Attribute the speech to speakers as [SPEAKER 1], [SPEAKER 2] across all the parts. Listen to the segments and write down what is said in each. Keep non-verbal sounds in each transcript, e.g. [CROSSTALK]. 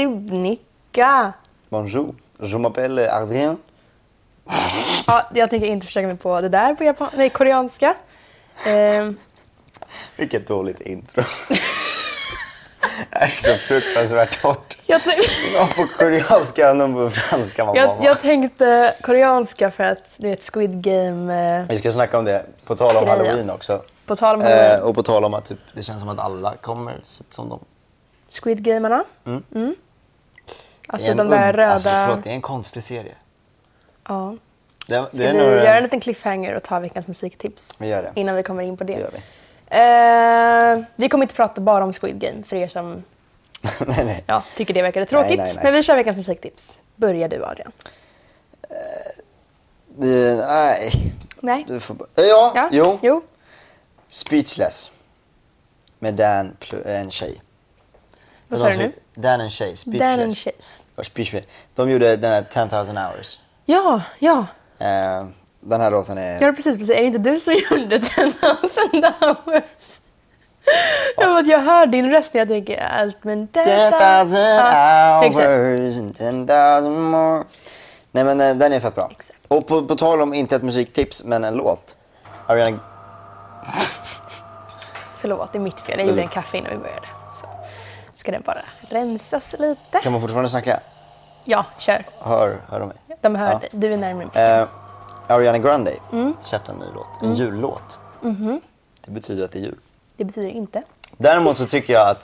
[SPEAKER 1] Annyeonghaseyo-nika.
[SPEAKER 2] Bonjour. Je m'appelle Adrien.
[SPEAKER 1] Ja, jag tänker inte försöka mig på det där på japan- nej, koreanska. Ehm,
[SPEAKER 2] Vilket dåligt intro. det är så fruktansvärt hårt.
[SPEAKER 1] jag, tänk-
[SPEAKER 2] [LAUGHS] Någon på koreanska och någon på franska. Mamma.
[SPEAKER 1] jag, jag tänkte koreanska för att du vet Squid Game, eh,
[SPEAKER 2] Vi ska snacka om det. På tal om
[SPEAKER 1] Grejer.
[SPEAKER 2] halloween också.
[SPEAKER 1] på tal om
[SPEAKER 2] Eh,
[SPEAKER 1] halloween,
[SPEAKER 2] och på tal om att typ, det känns som att alla kommer som de.
[SPEAKER 1] Squid Gamearna. Mm.
[SPEAKER 2] Det är
[SPEAKER 1] Alltså
[SPEAKER 2] en
[SPEAKER 1] de där
[SPEAKER 2] und-
[SPEAKER 1] röda...
[SPEAKER 2] Alltså, förlåt, det är en konstig serie.
[SPEAKER 1] ja.
[SPEAKER 2] Det, det
[SPEAKER 1] Ska
[SPEAKER 2] är
[SPEAKER 1] vi
[SPEAKER 2] nog den-
[SPEAKER 1] göra en liten cliffhanger och ta veckans musiktips?
[SPEAKER 2] Vi gör det.
[SPEAKER 1] Innan vi kommer in på det.
[SPEAKER 2] Det gör vi.
[SPEAKER 1] Eh, vi kommer inte prata bara om Squid Game för er som
[SPEAKER 2] [LAUGHS] nej, nej.
[SPEAKER 1] ja, tycker det verkade tråkigt.
[SPEAKER 2] nej, nej.
[SPEAKER 1] Men vi kör veckans musiktips. Börjar du Adrian?
[SPEAKER 2] Det, nej.
[SPEAKER 1] Nej?
[SPEAKER 2] Du får... bara- Ja,
[SPEAKER 1] Ja?
[SPEAKER 2] jo.
[SPEAKER 1] jo.
[SPEAKER 2] Speechless. Med Dan pl- en tjej. Alltså,
[SPEAKER 1] Vad sa du nu?
[SPEAKER 2] Dan en tjej. Speechless.
[SPEAKER 1] Dan and Chase.
[SPEAKER 2] Och Speechless. De gjorde den här 10,000 hours.
[SPEAKER 1] Ja, ja.
[SPEAKER 2] Eh, den här låten är...
[SPEAKER 1] Jag höll precis på att säga, är det inte du som [LAUGHS] gjorde den Thousand Hours? Jag, vet, jag hör din röst när jag tänker allt men...
[SPEAKER 2] 10,000
[SPEAKER 1] Ja, exakt.
[SPEAKER 2] hours and 10,000 more. Nej men eh, den är fett bra.
[SPEAKER 1] Exakt.
[SPEAKER 2] Och på, på tal om inte ett musiktips men en låt. Ariana...
[SPEAKER 1] Förlåt, det är mitt fel. Jag
[SPEAKER 2] Mm.
[SPEAKER 1] gjorde en kaffe innan vi började. Så ska den bara rensas lite.
[SPEAKER 2] Kan man fortfarande snacka?
[SPEAKER 1] Ja, kör.
[SPEAKER 2] Hör, hör de mig?
[SPEAKER 1] De hör
[SPEAKER 2] Ja.
[SPEAKER 1] dig. Du är närmare mig.
[SPEAKER 2] Eh, Ariana Grande släppte en ny låt. En jullåt. Det betyder att det är jul.
[SPEAKER 1] Det betyder inte.
[SPEAKER 2] Däremot så tycker jag att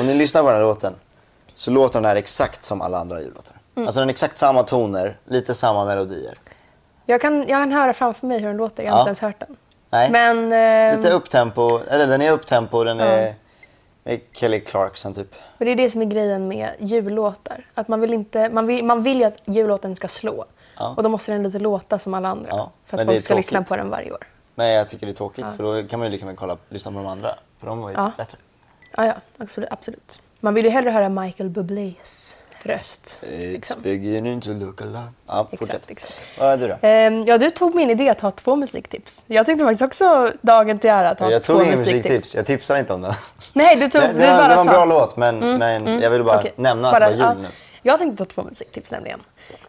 [SPEAKER 2] om ni lyssnar på den här låten så låter den här exakt som alla andra jullåtar.
[SPEAKER 1] Mm.
[SPEAKER 2] Alltså den är exakt samma toner, lite samma melodier.
[SPEAKER 1] Jag kan, jag kan höra framför mig hur den låter. Jag har
[SPEAKER 2] Ja.
[SPEAKER 1] inte ens hört den.
[SPEAKER 2] Nej.
[SPEAKER 1] Men... ehm,
[SPEAKER 2] Lite upptempo, eller den är upptempo, den är med Kelly Clarkson typ.
[SPEAKER 1] Men det är det som är grejen med jullåtar. Att man vill, inte, man vill, man vill ju att jullåten ska slå.
[SPEAKER 2] Ja.
[SPEAKER 1] Och då måste den lite låta som alla andra.
[SPEAKER 2] Ja,
[SPEAKER 1] För att
[SPEAKER 2] men det är
[SPEAKER 1] folk ska lyssna
[SPEAKER 2] tråkigt.
[SPEAKER 1] på den varje år.
[SPEAKER 2] Men jag tycker det är tråkigt för då kan man ju lika gärna kolla, lyssna på de andra. För de var ju typ
[SPEAKER 1] Ja.
[SPEAKER 2] bättre.
[SPEAKER 1] Ja, ja. Absolut. absolut. Man vill ju hellre höra Michael Bublés röst.
[SPEAKER 2] It's
[SPEAKER 1] liksom.
[SPEAKER 2] beginning to look alive. Ja, fortsätt.
[SPEAKER 1] Exakt, exakt.
[SPEAKER 2] Vad är du då?
[SPEAKER 1] Ehm, ja, du tog min idé att ha två musiktips. Jag tänkte faktiskt också dagen till ära att ha
[SPEAKER 2] Jag
[SPEAKER 1] två
[SPEAKER 2] tog inget
[SPEAKER 1] musiktips.
[SPEAKER 2] musiktips, jag tipsar inte om den.
[SPEAKER 1] Nej, du tog...
[SPEAKER 2] Det, det,
[SPEAKER 1] du bara
[SPEAKER 2] var- det var en
[SPEAKER 1] sa.
[SPEAKER 2] bra låt men, men jag ville bara
[SPEAKER 1] Okej,
[SPEAKER 2] nämna
[SPEAKER 1] bara-
[SPEAKER 2] att det var
[SPEAKER 1] ja.
[SPEAKER 2] jul nu.
[SPEAKER 1] Jag tänkte ta två musiktips nämligen.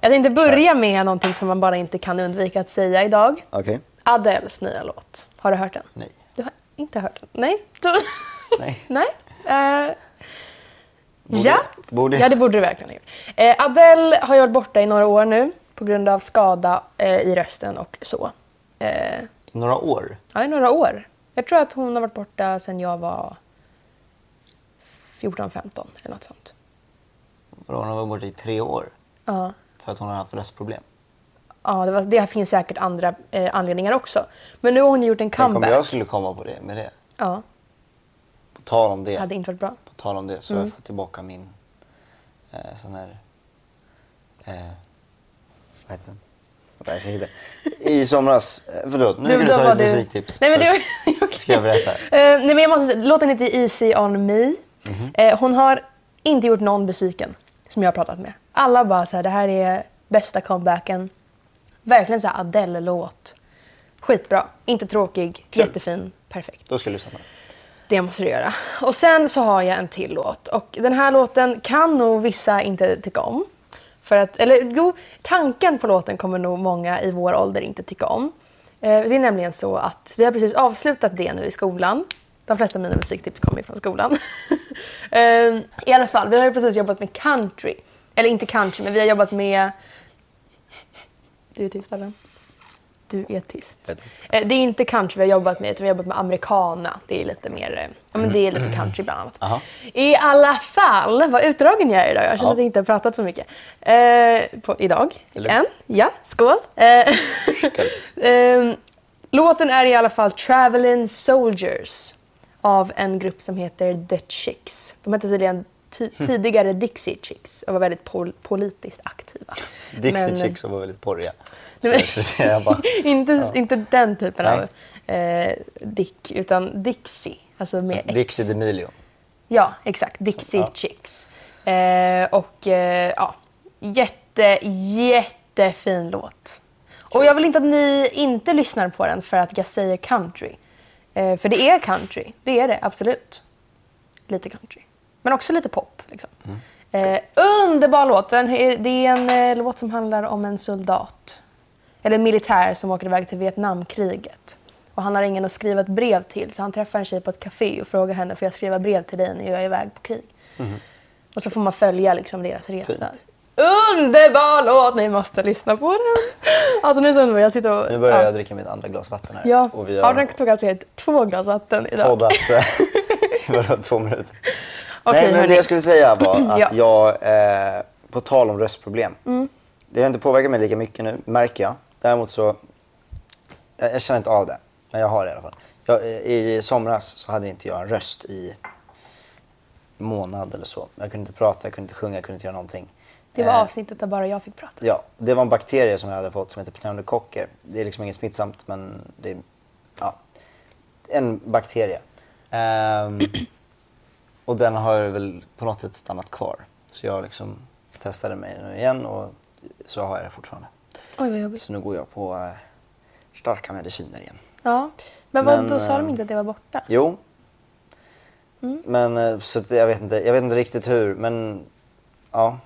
[SPEAKER 1] Jag tänkte börja med någonting som man bara inte kan undvika att säga idag.
[SPEAKER 2] Okej.
[SPEAKER 1] Adels nya låt. Har du hört den?
[SPEAKER 2] Nej.
[SPEAKER 1] Du har inte hört den? Nej? Du-
[SPEAKER 2] Nej.
[SPEAKER 1] [LAUGHS] Nej? Eh,
[SPEAKER 2] Borde-
[SPEAKER 1] ja.
[SPEAKER 2] borde-
[SPEAKER 1] ja, det borde du verkligen ha gjort. Eh, Adele har ju varit borta i några år nu på grund av skada eh, i rösten och så. Eh,
[SPEAKER 2] Några år?
[SPEAKER 1] ja, i några år. Jag tror att hon har varit borta sedan jag var 14-15 eller något sånt.
[SPEAKER 2] Vadå, hon har varit borta i tre år?
[SPEAKER 1] Ja.
[SPEAKER 2] För att hon har haft röstproblem.
[SPEAKER 1] Ja, det, var, det finns säkert andra eh, anledningar också. Men nu har hon gjort en
[SPEAKER 2] Tänk om
[SPEAKER 1] comeback.
[SPEAKER 2] jag skulle komma på det med det.
[SPEAKER 1] Ja,
[SPEAKER 2] På tal om
[SPEAKER 1] det Mm.
[SPEAKER 2] det,
[SPEAKER 1] hade inte varit bra.
[SPEAKER 2] på tal om det så har jag fått tillbaka min eh, sån här... Eh, vad heter den? Vänta, jag ska hitta. I somras... Eh, förlåt, nu kan du
[SPEAKER 1] då
[SPEAKER 2] ta
[SPEAKER 1] var
[SPEAKER 2] ditt musiktips.
[SPEAKER 1] Nej, men det... [LAUGHS]
[SPEAKER 2] först.
[SPEAKER 1] okej.
[SPEAKER 2] Ska jag berätta? Mhm.
[SPEAKER 1] Eh, nej, men jag måste säga, låten heter Easy on me. Eh, hon har inte gjort någon besviken som jag har pratat med. Alla bara så här, det här är bästa comebacken. Verkligen så här Adele-låt. Skitbra, inte tråkig, jättefin, perfekt.
[SPEAKER 2] Då ska du lyssna på den.
[SPEAKER 1] Det måste du göra. Och sen så har jag en till låt. Och den här låten kan nog vissa inte tycka om. För att, eller jo, tanken på låten kommer nog många i vår ålder inte tycka om. Eh, det är nämligen så att vi har precis avslutat det nu i skolan. De flesta av mina musiktips kommer ju från skolan. [LAUGHS] eh, I alla fall, vi har ju precis jobbat med country. Eller inte country, men vi har jobbat med... Du är tyst, Allan. Du är tyst.
[SPEAKER 2] Jag är tyst.
[SPEAKER 1] Eh, Det är inte country vi har jobbat med, utan vi har jobbat med americana. Det är lite mer, eh, ja men det är lite country bland annat.
[SPEAKER 2] Aha.
[SPEAKER 1] I alla fall, vad utdragen jag är idag. Jag känner att jag inte har pratat så mycket. Eh, på, idag,
[SPEAKER 2] Det är lugnt.
[SPEAKER 1] än. Ja, skål. Eh, [LAUGHS] eh, låten är i alla fall Travelin' Soldiers av en grupp som heter The Chicks. De hette tydligen ti-
[SPEAKER 2] Hm.
[SPEAKER 1] tidigare Dixie Chicks och var väldigt pol- politiskt aktiva.
[SPEAKER 2] Dixie
[SPEAKER 1] Men-
[SPEAKER 2] Chicks var väldigt porriga. [LAUGHS] Så
[SPEAKER 1] Nej, men-
[SPEAKER 2] jag skulle säga jag bara...
[SPEAKER 1] [LAUGHS] inte, inte den typen
[SPEAKER 2] Nej.
[SPEAKER 1] av eh, Dick, utan Dixie. Alltså med X.
[SPEAKER 2] Dixie D'Amelio.
[SPEAKER 1] Ja, exakt. Dixie
[SPEAKER 2] ja.
[SPEAKER 1] Chicks. Eh, och eh, ja, jätte, jättefin låt. Och jag vill inte att ni inte lyssnar på den för att jag säger country. Eh, för det är country. Det är det, absolut. Lite country. Men också lite pop. Liksom.
[SPEAKER 2] Mm.
[SPEAKER 1] Eh, underbar låt. Den, är- det är en eh, låt som handlar om en soldat. Eller en militär som åker iväg till Vietnamkriget. Och han har ingen att skriva ett brev till så han träffar en tjej på ett café och frågar henne får jag skriva brev till dig när jag är iväg på krig. Och så får man följa liksom deras resa.
[SPEAKER 2] Mm-hmm. Fint.
[SPEAKER 1] Underbar låt! Ni måste lyssna på den. Alltså nu är det så underbart. Jag sitter och...
[SPEAKER 2] Nu börjar
[SPEAKER 1] ja.
[SPEAKER 2] jag dricka mitt andra glas vatten här.
[SPEAKER 1] Ja,
[SPEAKER 2] Och vi har
[SPEAKER 1] Adrian tog alltså ett två glas vatten idag.
[SPEAKER 2] poddat eh,
[SPEAKER 1] [LAUGHS]
[SPEAKER 2] i bara två minuter.
[SPEAKER 1] Okej,
[SPEAKER 2] Nej, men
[SPEAKER 1] hörni.
[SPEAKER 2] det jag skulle säga
[SPEAKER 1] [CLEARS THROAT]
[SPEAKER 2] var att
[SPEAKER 1] Ja. Mm.
[SPEAKER 2] jag, eh, på tal om röstproblem. Det har inte påverkat mig lika mycket nu, märker jag. Däremot så, jag, jag känner inte av det. Men jag har det i alla fall. Jag, eh, I somras så hade inte jag en röst i månad eller så. Jag kunde inte prata, jag kunde inte sjunga, jag kunde inte göra någonting.
[SPEAKER 1] Det var
[SPEAKER 2] Eh,
[SPEAKER 1] avsnittet där bara jag fick prata.
[SPEAKER 2] Ja, det var en bakterie som jag hade fått som heter pneumokocker. Det är liksom inget smittsamt men det är ja, en bakterie. Ehm, och den har väl på något sätt stannat kvar. Så jag liksom testade mig nu igen och så har jag det fortfarande.
[SPEAKER 1] Oj, vad jobbigt.
[SPEAKER 2] Så nu går jag på eh, starka mediciner igen.
[SPEAKER 1] Ja. Men, vad,
[SPEAKER 2] Men,
[SPEAKER 1] då sa de
[SPEAKER 2] eh,
[SPEAKER 1] inte att det var borta?
[SPEAKER 2] Jo. Men eh, så att jag, vet inte, jag vet inte riktigt hur men ja.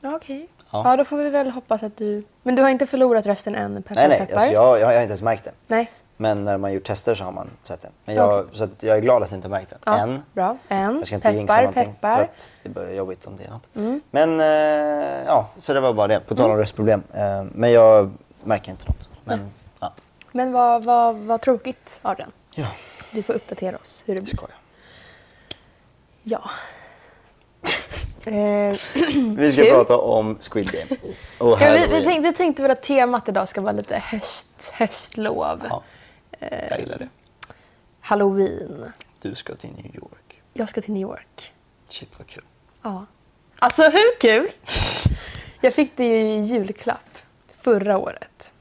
[SPEAKER 1] Ja, okej.
[SPEAKER 2] Ja.
[SPEAKER 1] Ja. då får vi väl hoppas att du... Men du har inte förlorat rösten än, Peppar
[SPEAKER 2] Nej nej,
[SPEAKER 1] peppar.
[SPEAKER 2] alltså jag, jag har inte ens märkt det.
[SPEAKER 1] Nej.
[SPEAKER 2] Men när man gjort tester så har man sett det. Men jag, Så att jag är glad att jag inte märkt det.
[SPEAKER 1] Ja,
[SPEAKER 2] Än.
[SPEAKER 1] Bra. En.
[SPEAKER 2] Jag ska inte jinxa
[SPEAKER 1] peppar,
[SPEAKER 2] någonting
[SPEAKER 1] peppar. Mm.
[SPEAKER 2] för att det börjar jobbigt om det är något. Men eh, ja, så det var bara det. På tal om röstproblem. Eh, men jag märker inte något. Men ja,
[SPEAKER 1] Men vad, vad, vad tråkigt, Adrian.
[SPEAKER 2] ja
[SPEAKER 1] Du får uppdatera oss hur det
[SPEAKER 2] det
[SPEAKER 1] blir.
[SPEAKER 2] ska jag. [LAUGHS]
[SPEAKER 1] Ja. Eh,
[SPEAKER 2] Vi ska
[SPEAKER 1] Kul.
[SPEAKER 2] prata om Squid Game. Och
[SPEAKER 1] ja, vi, vi,
[SPEAKER 2] Halloween.
[SPEAKER 1] tänkte, vi tänkte väl att temat idag ska vara lite höst, höstlov.
[SPEAKER 2] Ja,
[SPEAKER 1] Eh.
[SPEAKER 2] jag gillar det.
[SPEAKER 1] Halloween.
[SPEAKER 2] Du ska till New York.
[SPEAKER 1] Jag ska till New York.
[SPEAKER 2] Shit
[SPEAKER 1] [LAUGHS]
[SPEAKER 2] vad kul.
[SPEAKER 1] Ja. Alltså hur kul? Jag fick det ju i julklapp förra året.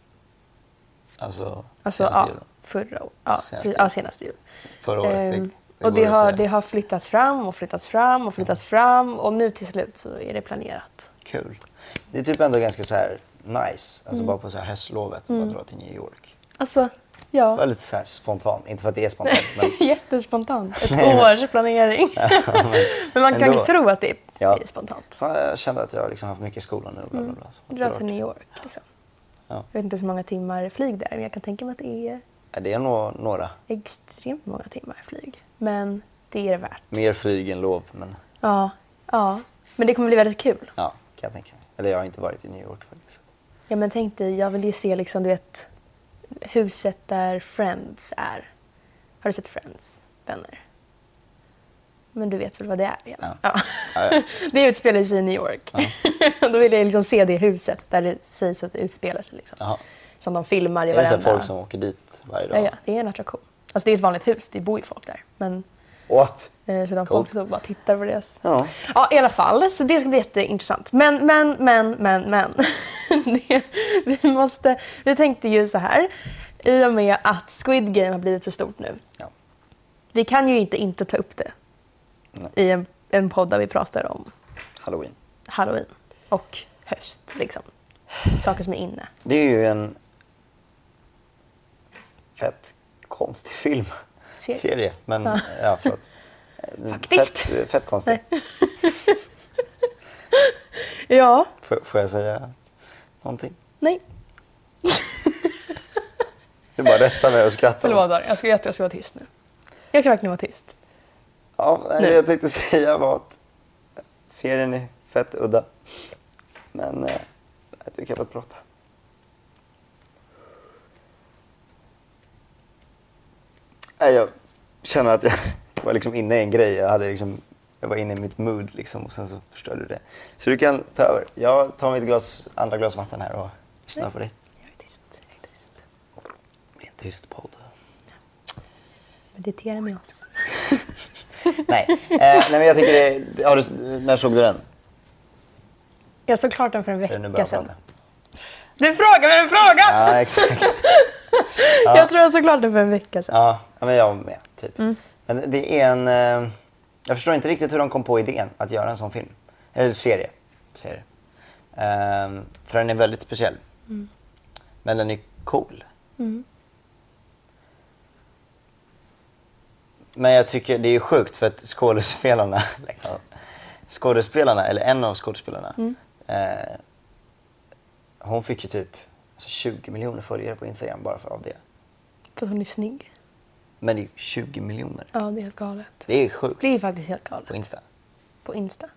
[SPEAKER 2] Alltså,
[SPEAKER 1] Alltså,
[SPEAKER 2] senaste
[SPEAKER 1] ja,
[SPEAKER 2] julen.
[SPEAKER 1] förra året. Ja,
[SPEAKER 2] Senaste
[SPEAKER 1] precis,
[SPEAKER 2] julen.
[SPEAKER 1] ja, senaste jul.
[SPEAKER 2] Förra året.
[SPEAKER 1] Ehm,
[SPEAKER 2] går
[SPEAKER 1] och det
[SPEAKER 2] att
[SPEAKER 1] har,
[SPEAKER 2] säga. Mm.
[SPEAKER 1] det har flyttats fram och flyttats fram och flyttats fram och nu till slut så är det planerat.
[SPEAKER 2] Kul. Det är typ ändå ganska så här nice. Alltså
[SPEAKER 1] Mm.
[SPEAKER 2] bara på så här höstlovet och bara dra till New York.
[SPEAKER 1] Alltså, [LAUGHS]
[SPEAKER 2] Det var
[SPEAKER 1] ja.
[SPEAKER 2] lite så här spontant. Inte för att det är spontant
[SPEAKER 1] [LAUGHS]
[SPEAKER 2] men
[SPEAKER 1] Jättespontant. Ett års
[SPEAKER 2] [LAUGHS]
[SPEAKER 1] planering. Men man kan ju
[SPEAKER 2] ändå.
[SPEAKER 1] tro att det är
[SPEAKER 2] Ja.
[SPEAKER 1] är spontant.
[SPEAKER 2] fan, jag kände att jag har liksom haft mycket i skolan nu. och Bla, bla, bla. Så
[SPEAKER 1] Mm. Dra
[SPEAKER 2] det var-
[SPEAKER 1] till New York. Liksom.
[SPEAKER 2] Ja.
[SPEAKER 1] Jag vet inte så många timmar flyg där men jag kan tänka mig att det är
[SPEAKER 2] Ja, Det är nog några.
[SPEAKER 1] extremt många timmar flyg. Men det är det värt.
[SPEAKER 2] Mer flyg än lov men
[SPEAKER 1] Ja, ja. Men det kommer bli väldigt kul.
[SPEAKER 2] ja, kan jag tänka mig. Eller jag har inte varit i New York faktiskt.
[SPEAKER 1] Ja, men tänk dig, jag vill ju se liksom, du vet, huset där Friends är. Har du sett Friends, vänner? Men du vet väl vad det är? igen?
[SPEAKER 2] Ja.
[SPEAKER 1] Ja.
[SPEAKER 2] Ja,
[SPEAKER 1] [LAUGHS]
[SPEAKER 2] ja.
[SPEAKER 1] Det utspelar sig i New York. Och [LAUGHS] Då vill jag liksom se det huset där det sägs att det utspelar sig. Liksom.
[SPEAKER 2] Jaha.
[SPEAKER 1] Som de filmar i
[SPEAKER 2] Är det så
[SPEAKER 1] varenda...
[SPEAKER 2] här folk som åker dit varje
[SPEAKER 1] ja,
[SPEAKER 2] dag?
[SPEAKER 1] ja, det är en attraktion. Alltså det är ett vanligt hus, det bor ju folk där. Men
[SPEAKER 2] What?
[SPEAKER 1] Eh, Så de får
[SPEAKER 2] Coolt.
[SPEAKER 1] också bara tittar på deras...
[SPEAKER 2] Ja.
[SPEAKER 1] ja, i alla fall. Så det ska bli jätteintressant. Men, men, men, men, men. [LAUGHS] det, vi, måste, vi tänkte ju så här. I och med att Squid Game har blivit så stort nu.
[SPEAKER 2] Ja.
[SPEAKER 1] Vi kan ju inte inte ta upp det
[SPEAKER 2] Nej.
[SPEAKER 1] i en, en podd där vi pratar om
[SPEAKER 2] Halloween.
[SPEAKER 1] halloween och höst. Liksom. Saker som är inne.
[SPEAKER 2] Det är ju en fett konstig film.
[SPEAKER 1] Serie.
[SPEAKER 2] Serie. Men ja,
[SPEAKER 1] [LAUGHS]
[SPEAKER 2] förlåt. Eh,
[SPEAKER 1] Faktiskt.
[SPEAKER 2] Fett, fett konstig.
[SPEAKER 1] Ja.
[SPEAKER 2] Får, får jag säga någonting?
[SPEAKER 1] Nej.
[SPEAKER 2] Du bara rättar mig och skrattar.
[SPEAKER 1] Förlåt, Adrian. jag ska jag ska vara tyst nu. Jag ska verkligen vara tyst.
[SPEAKER 2] Ja, nej,
[SPEAKER 1] Nej.
[SPEAKER 2] jag tänkte säga var att serien är fett udda. Men eh, du kan väl prata. Nej, jag känner att jag [LAUGHS] var liksom inne i en grej. Jag, hade liksom, jag var inne i mitt mood liksom, och sen så förstörde du det. Så du kan ta över. Jag tar mitt glas, andra glas vatten här och lyssnar på dig.
[SPEAKER 1] Jag är tyst. Jag är tyst.
[SPEAKER 2] Det är en tyst podd.
[SPEAKER 1] Meditera med oss.
[SPEAKER 2] nej. Eh, nej, men jag tycker det... Har du, när såg du den?
[SPEAKER 1] Jag såg klart den för en
[SPEAKER 2] Ser du nu
[SPEAKER 1] vecka
[SPEAKER 2] börjar
[SPEAKER 1] sedan.
[SPEAKER 2] prata?
[SPEAKER 1] Du frågar en fråga!
[SPEAKER 2] Ja, exakt.
[SPEAKER 1] Jag tror jag såg klart den för en vecka sedan.
[SPEAKER 2] Ja, ja, men jag med. Typ. Men det är en... eh, Jag förstår inte riktigt hur de kom på idén att göra en sån film. Eller serie. serie. Ehm, för den är väldigt speciell. Men den är cool. Men jag tycker det är sjukt för att skådespelarna... [LAUGHS] Lägg av. skådespelarna, eller en av skådespelarna, eh, hon fick ju typ alltså 20 miljoner följare på Instagram bara för, av det.
[SPEAKER 1] För att hon är snygg.
[SPEAKER 2] Men det är 20 miljoner.
[SPEAKER 1] Ja, det är helt galet.
[SPEAKER 2] Det är sjukt
[SPEAKER 1] Det är faktiskt helt galet.
[SPEAKER 2] på Insta.
[SPEAKER 1] På Insta.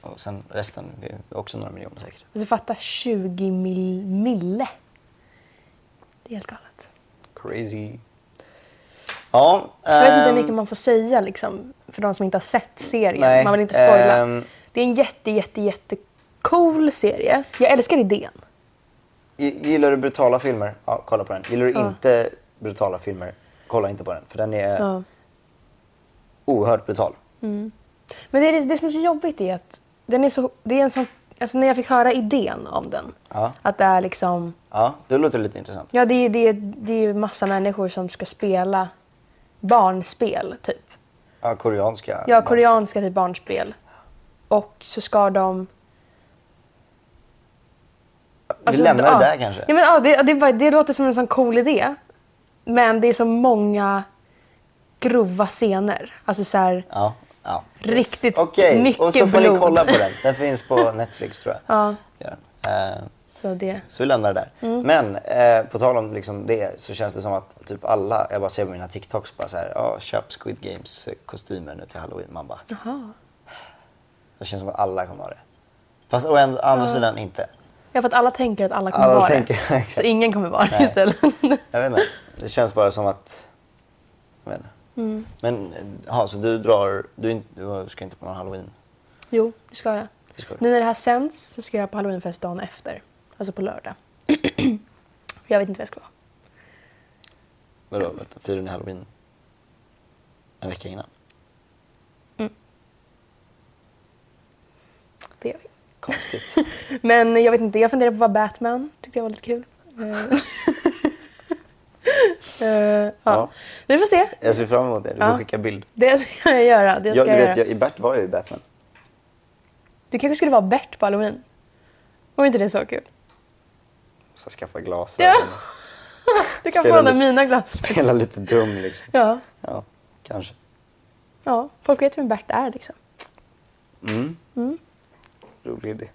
[SPEAKER 2] Och sen resten, det är också några miljoner säkert.
[SPEAKER 1] Alltså fatta 20 mil- mille. Det är helt galet.
[SPEAKER 2] Crazy. Ja.
[SPEAKER 1] Jag vet inte hur
[SPEAKER 2] ehm,
[SPEAKER 1] mycket man får säga liksom, för de som inte har sett serien.
[SPEAKER 2] Nej,
[SPEAKER 1] man vill inte spoila.
[SPEAKER 2] ehm.
[SPEAKER 1] Det är en jätte, jätte, jätte cool serie. Jag älskar idén.
[SPEAKER 2] G- Gillar du brutala filmer? Ja, kolla på den. Gillar du
[SPEAKER 1] Ja.
[SPEAKER 2] inte brutala filmer? Kolla inte på den. För den är
[SPEAKER 1] Ja.
[SPEAKER 2] oerhört brutal.
[SPEAKER 1] Men det, är, det som är så jobbigt är att den är så, det är en sån, alltså när jag fick höra idén om den.
[SPEAKER 2] Ja.
[SPEAKER 1] Att det är liksom,
[SPEAKER 2] Ja, det låter lite intressant.
[SPEAKER 1] ja det är ju det, är- det är ju massa människor som ska spela barnspel typ.
[SPEAKER 2] Ja, koreanska.
[SPEAKER 1] Ja, koreanska typ barnspel. Och så ska de...
[SPEAKER 2] Vi lämnar
[SPEAKER 1] alltså, ja.
[SPEAKER 2] det där kanske.
[SPEAKER 1] Ja, men, ja, det, det, är bara, det låter som en sån cool idé. Men det är så många grova scener. Alltså så här...
[SPEAKER 2] Ja. ja.
[SPEAKER 1] Riktigt
[SPEAKER 2] Okej,
[SPEAKER 1] mycket
[SPEAKER 2] och så får ni
[SPEAKER 1] blod.
[SPEAKER 2] kolla på den. Den finns på Netflix tror jag.
[SPEAKER 1] Ja.
[SPEAKER 2] Det gör den. Eh,
[SPEAKER 1] Så det...
[SPEAKER 2] så vi lämnar det där.
[SPEAKER 1] Mm.
[SPEAKER 2] Men eh, på tal om liksom det så känns det som att typ alla, jag bara ser på mina TikToks bara så här, ja köp Squid Games kostymer nu till Halloween. Man bara,
[SPEAKER 1] Jaha.
[SPEAKER 2] det känns som att alla kommer ha det. Fast å andra, å andra sidan inte.
[SPEAKER 1] Ja, för att alla tänker att alla kommer
[SPEAKER 2] Alla
[SPEAKER 1] vara
[SPEAKER 2] tänker- [LAUGHS]
[SPEAKER 1] det.
[SPEAKER 2] exakt.
[SPEAKER 1] Så ingen kommer vara det
[SPEAKER 2] Nej.
[SPEAKER 1] istället. [LAUGHS]
[SPEAKER 2] Jag vet inte. Det känns bara som att... Jag vet inte.
[SPEAKER 1] Mm.
[SPEAKER 2] Men ja, så du drar... Du, är inte, du ska inte på någon halloween?
[SPEAKER 1] jo, det ska jag.
[SPEAKER 2] Det ska du.
[SPEAKER 1] Nu när det här sänds så ska jag på halloweenfest dagen efter. Alltså på lördag. [CLEARS THROAT] jag vet inte vad jag ska vara.
[SPEAKER 2] Vadå? Vänta, firar ni halloween en vecka innan?
[SPEAKER 1] Det gör vi.
[SPEAKER 2] Konstigt.
[SPEAKER 1] Men jag vet inte, jag funderar på att vara Batman. Tyckte jag var lite kul. Eh. Eh, ja.
[SPEAKER 2] Ja.
[SPEAKER 1] Vi får se.
[SPEAKER 2] Jag ser fram emot det. Du får
[SPEAKER 1] Ja.
[SPEAKER 2] skicka bild.
[SPEAKER 1] Det ska jag göra. Det ska
[SPEAKER 2] Ja, du
[SPEAKER 1] jag
[SPEAKER 2] vet,
[SPEAKER 1] göra.
[SPEAKER 2] jag, i Bert var jag ju Batman.
[SPEAKER 1] Du kanske skulle vara Bert på halloween? Vore inte det så kul?
[SPEAKER 2] Så jag skaffa glasögon.
[SPEAKER 1] Ja. Du kan få
[SPEAKER 2] Spela
[SPEAKER 1] hålla
[SPEAKER 2] lite-
[SPEAKER 1] mina glasögon.
[SPEAKER 2] Spela lite dum liksom.
[SPEAKER 1] Ja.
[SPEAKER 2] Ja, kanske.
[SPEAKER 1] ja, folk vet vem Bert är liksom. [LAUGHS]
[SPEAKER 2] Mm.
[SPEAKER 1] Mm.
[SPEAKER 2] Rolig idé.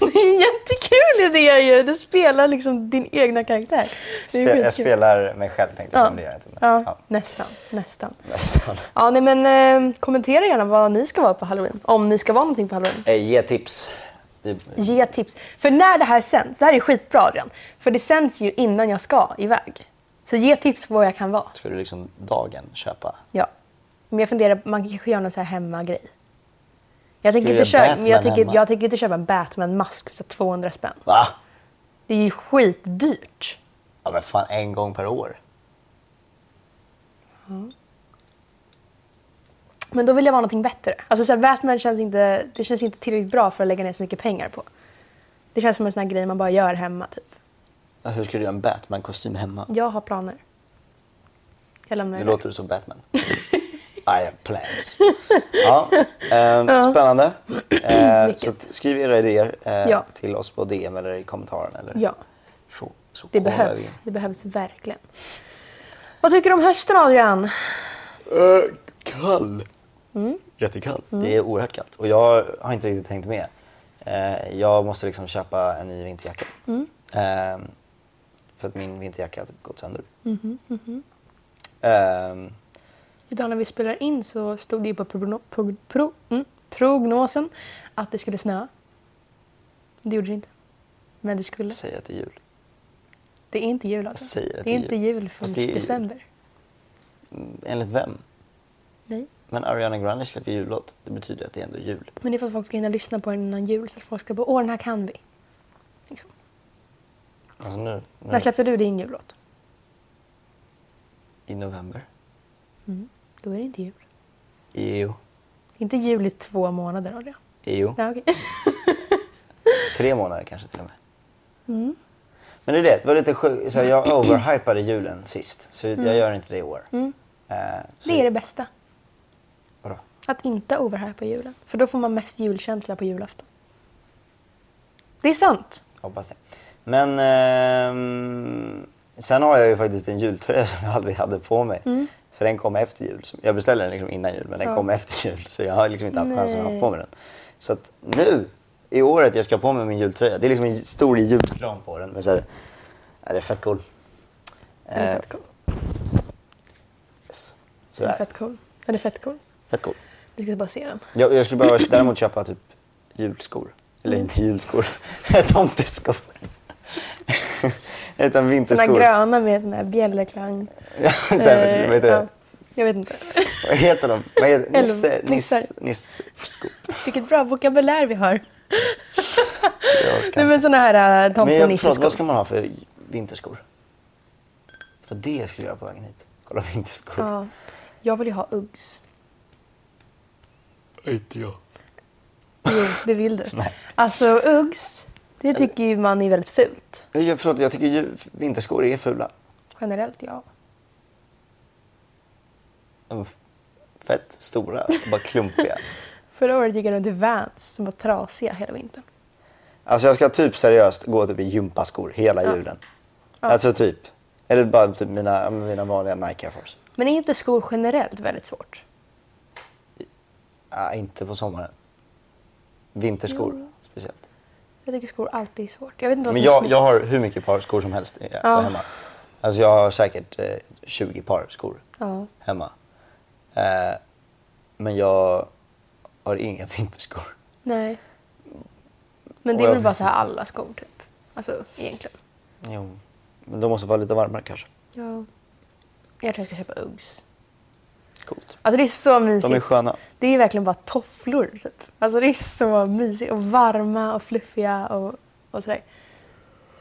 [SPEAKER 1] Det är en jättekul idé ju! Du spelar liksom din egna karaktär. Det är
[SPEAKER 2] Spel, jag
[SPEAKER 1] skitkul.
[SPEAKER 2] spelar mig själv tänkte jag, som det gör jag inte. men-
[SPEAKER 1] Ja,
[SPEAKER 2] Ja,
[SPEAKER 1] nästan. Nästan.
[SPEAKER 2] nästan.
[SPEAKER 1] Ja, nej, men eh, kommentera gärna vad ni ska vara på halloween. Om ni ska vara någonting på halloween.
[SPEAKER 2] Eh, ge tips. Det,
[SPEAKER 1] Ge tips. För när det här sänds, det här är skitbra Adrian, för det sänds ju innan jag ska iväg. Så ge tips på vad jag kan vara.
[SPEAKER 2] Ska du liksom dagen köpa?
[SPEAKER 1] Ja. Men jag funderar, man kanske gör någon så här hemmagrej. Jag tänker,
[SPEAKER 2] Ska vi
[SPEAKER 1] inte
[SPEAKER 2] göra
[SPEAKER 1] köpa,
[SPEAKER 2] Batman
[SPEAKER 1] jag, tänker,
[SPEAKER 2] hemma?
[SPEAKER 1] jag tänker inte köpa en Batman-mask för så 200 spänn.
[SPEAKER 2] Va?
[SPEAKER 1] Det är ju skitdyrt.
[SPEAKER 2] Ja men fan en gång per år.
[SPEAKER 1] Men då vill jag vara någonting bättre. Alltså så här, Batman känns inte, det känns inte tillräckligt bra för att lägga ner så mycket pengar på. Det känns som en sån här grej man bara gör hemma typ.
[SPEAKER 2] Ja, Hur ska du göra en Batman-kostym hemma?
[SPEAKER 1] Jag har planer. Jag lämnar
[SPEAKER 2] Nu
[SPEAKER 1] det där.
[SPEAKER 2] låter du
[SPEAKER 1] [LAUGHS]
[SPEAKER 2] som Batman. I have plans. Ja, ehm, Spännande. Eh, så att skriv era idéer eh,
[SPEAKER 1] Ja.
[SPEAKER 2] till oss på DM eller i kommentaren. Eller
[SPEAKER 1] Ja.
[SPEAKER 2] så, så
[SPEAKER 1] Det
[SPEAKER 2] kollar
[SPEAKER 1] behövs. Det behövs verkligen. Vad tycker du om hösten Adrian?
[SPEAKER 2] vi. Eh, kall. Jättekall.
[SPEAKER 1] Mm.
[SPEAKER 2] Det är oerhört kallt. Och jag har inte riktigt tänkt med. Eh, jag måste liksom köpa en ny vinterjacka.
[SPEAKER 1] Mm.
[SPEAKER 2] Ehm, för att min vinterjacka har typ gått sönder.
[SPEAKER 1] Mm-hmm,
[SPEAKER 2] Ehm,
[SPEAKER 1] Idag när vi spelar in så stod det ju på progno- prog- pro- mm, prognosen att det skulle snöa. Det gjorde det inte. Men det skulle.
[SPEAKER 2] säg att det är jul.
[SPEAKER 1] Det är inte jul
[SPEAKER 2] Jag
[SPEAKER 1] alltså.
[SPEAKER 2] säger att
[SPEAKER 1] Det är inte jul förrän
[SPEAKER 2] Fast det är ju
[SPEAKER 1] december.
[SPEAKER 2] Mm, Enligt vem?
[SPEAKER 1] Nej.
[SPEAKER 2] Men Ariana Grande släpper jullåt. Det betyder att det är ändå jul.
[SPEAKER 1] Men det är för att folk ska hinna lyssna på den innan jul så att folk ska bara åh den här kan vi. Liksom.
[SPEAKER 2] Alltså nu,
[SPEAKER 1] När
[SPEAKER 2] nu
[SPEAKER 1] släppte du din jullåt?
[SPEAKER 2] i november. E
[SPEAKER 1] Då är det inte jul.
[SPEAKER 2] EU.
[SPEAKER 1] Det är inte jul i två månader Adrian.
[SPEAKER 2] EU.
[SPEAKER 1] Ja, okej.
[SPEAKER 2] E Tre månader kanske till och med.
[SPEAKER 1] Mm.
[SPEAKER 2] Men det är det, det var lite sjukt. Så här, jag overhypade julen sist. Så jag gör inte det i år. Eh, så,
[SPEAKER 1] Mm. Det är det bästa.
[SPEAKER 2] Vadå?
[SPEAKER 1] Att inte overhypa julen. För då får man mest julkänsla på julafton. Det är sant.
[SPEAKER 2] Jag hoppas det. Men [LAUGHS] ehm, sen har jag ju faktiskt en jultröja som jag aldrig hade på mig. För den kom efter jul. Så Jag beställde den liksom innan jul men den
[SPEAKER 1] Mm. Ja.
[SPEAKER 2] kom efter jul. Så jag har liksom inte haft chansen att ha
[SPEAKER 1] Nej.
[SPEAKER 2] på mig den. Så att nu, i året jag ska ha på mig min jultröja. Det är liksom en stor julkram på den. Men så här, är det är fett cool.
[SPEAKER 1] Den är
[SPEAKER 2] Eh,
[SPEAKER 1] fett cool.
[SPEAKER 2] yes.
[SPEAKER 1] Den är
[SPEAKER 2] Sådär,
[SPEAKER 1] fett cool. Den är fett cool.
[SPEAKER 2] fett cool.
[SPEAKER 1] Du ska bara se den.
[SPEAKER 2] Jag, jag skulle behöva däremot köpa typ julskor. Eller
[SPEAKER 1] Mm.
[SPEAKER 2] inte julskor, [LAUGHS]
[SPEAKER 1] [LAUGHS]
[SPEAKER 2] tomteskor. Utan
[SPEAKER 1] Den här
[SPEAKER 2] vinterskor.
[SPEAKER 1] gröna med den här
[SPEAKER 2] [LAUGHS]
[SPEAKER 1] bjällerklang.
[SPEAKER 2] Ja, så här,
[SPEAKER 1] Eh,
[SPEAKER 2] vad heter det?
[SPEAKER 1] ja. Jag vet inte. [LAUGHS]
[SPEAKER 2] Vad heter de? Vad heter
[SPEAKER 1] Älv-
[SPEAKER 2] Nisse,
[SPEAKER 1] nissar.
[SPEAKER 2] niss,
[SPEAKER 1] [LAUGHS]
[SPEAKER 2] nisskor.
[SPEAKER 1] Vilket bra vokabulär vi har.
[SPEAKER 2] Jag
[SPEAKER 1] Nej
[SPEAKER 2] kan-
[SPEAKER 1] men såna här äh,
[SPEAKER 2] Men
[SPEAKER 1] tomten
[SPEAKER 2] jag,
[SPEAKER 1] och
[SPEAKER 2] förlåt,
[SPEAKER 1] nisseskor.
[SPEAKER 2] vad ska man ha för vinterskor? Det var det jag skulle göra på vägen hit. Kolla vinterskor.
[SPEAKER 1] Ja. Jag vill ju ha Uggs.
[SPEAKER 2] Inte jag.
[SPEAKER 1] Jo, det vill du.
[SPEAKER 2] [LAUGHS] Nej.
[SPEAKER 1] Alltså Uggs, det tycker ju man är väldigt fult.
[SPEAKER 2] Jag, förlåt, jag tycker ju vinterskor är fula.
[SPEAKER 1] Generellt ja.
[SPEAKER 2] De är f- Fett stora och bara
[SPEAKER 1] [LAUGHS]
[SPEAKER 2] klumpiga.
[SPEAKER 1] Förra året gick jag runt i Vans som var trasiga hela vintern.
[SPEAKER 2] Alltså jag ska typ seriöst gå typ i gympaskor hela julen. Alltså typ. Eller bara typ mina, ja, men mina vanliga Nike Air Force.
[SPEAKER 1] Men är inte skor generellt väldigt svårt?
[SPEAKER 2] Ah, inte på sommaren. Vinterskor speciellt.
[SPEAKER 1] Jag tycker skor alltid är svårt. Jag vet inte vad
[SPEAKER 2] Men
[SPEAKER 1] som är
[SPEAKER 2] jag,
[SPEAKER 1] snyggt.
[SPEAKER 2] jag har hur mycket par skor som helst eh, alltså
[SPEAKER 1] Ja.
[SPEAKER 2] hemma. Alltså jag har säkert eh, 20 par skor
[SPEAKER 1] Ja.
[SPEAKER 2] hemma. Eh, men jag har inga [LAUGHS] vinterskor.
[SPEAKER 1] Nej. Men
[SPEAKER 2] Och
[SPEAKER 1] det är
[SPEAKER 2] jag
[SPEAKER 1] väl bara
[SPEAKER 2] vet
[SPEAKER 1] så här
[SPEAKER 2] inte.
[SPEAKER 1] alla skor typ. Alltså egentligen.
[SPEAKER 2] Jo. Men de måste vara lite varmare kanske.
[SPEAKER 1] Ja. Jag tror jag ska köpa Uggs.
[SPEAKER 2] Coolt.
[SPEAKER 1] Alltså det är så mysigt.
[SPEAKER 2] De är sköna.
[SPEAKER 1] Det är verkligen bara tofflor typ. Alltså det är så mysigt och varma och fluffiga och, och sådär.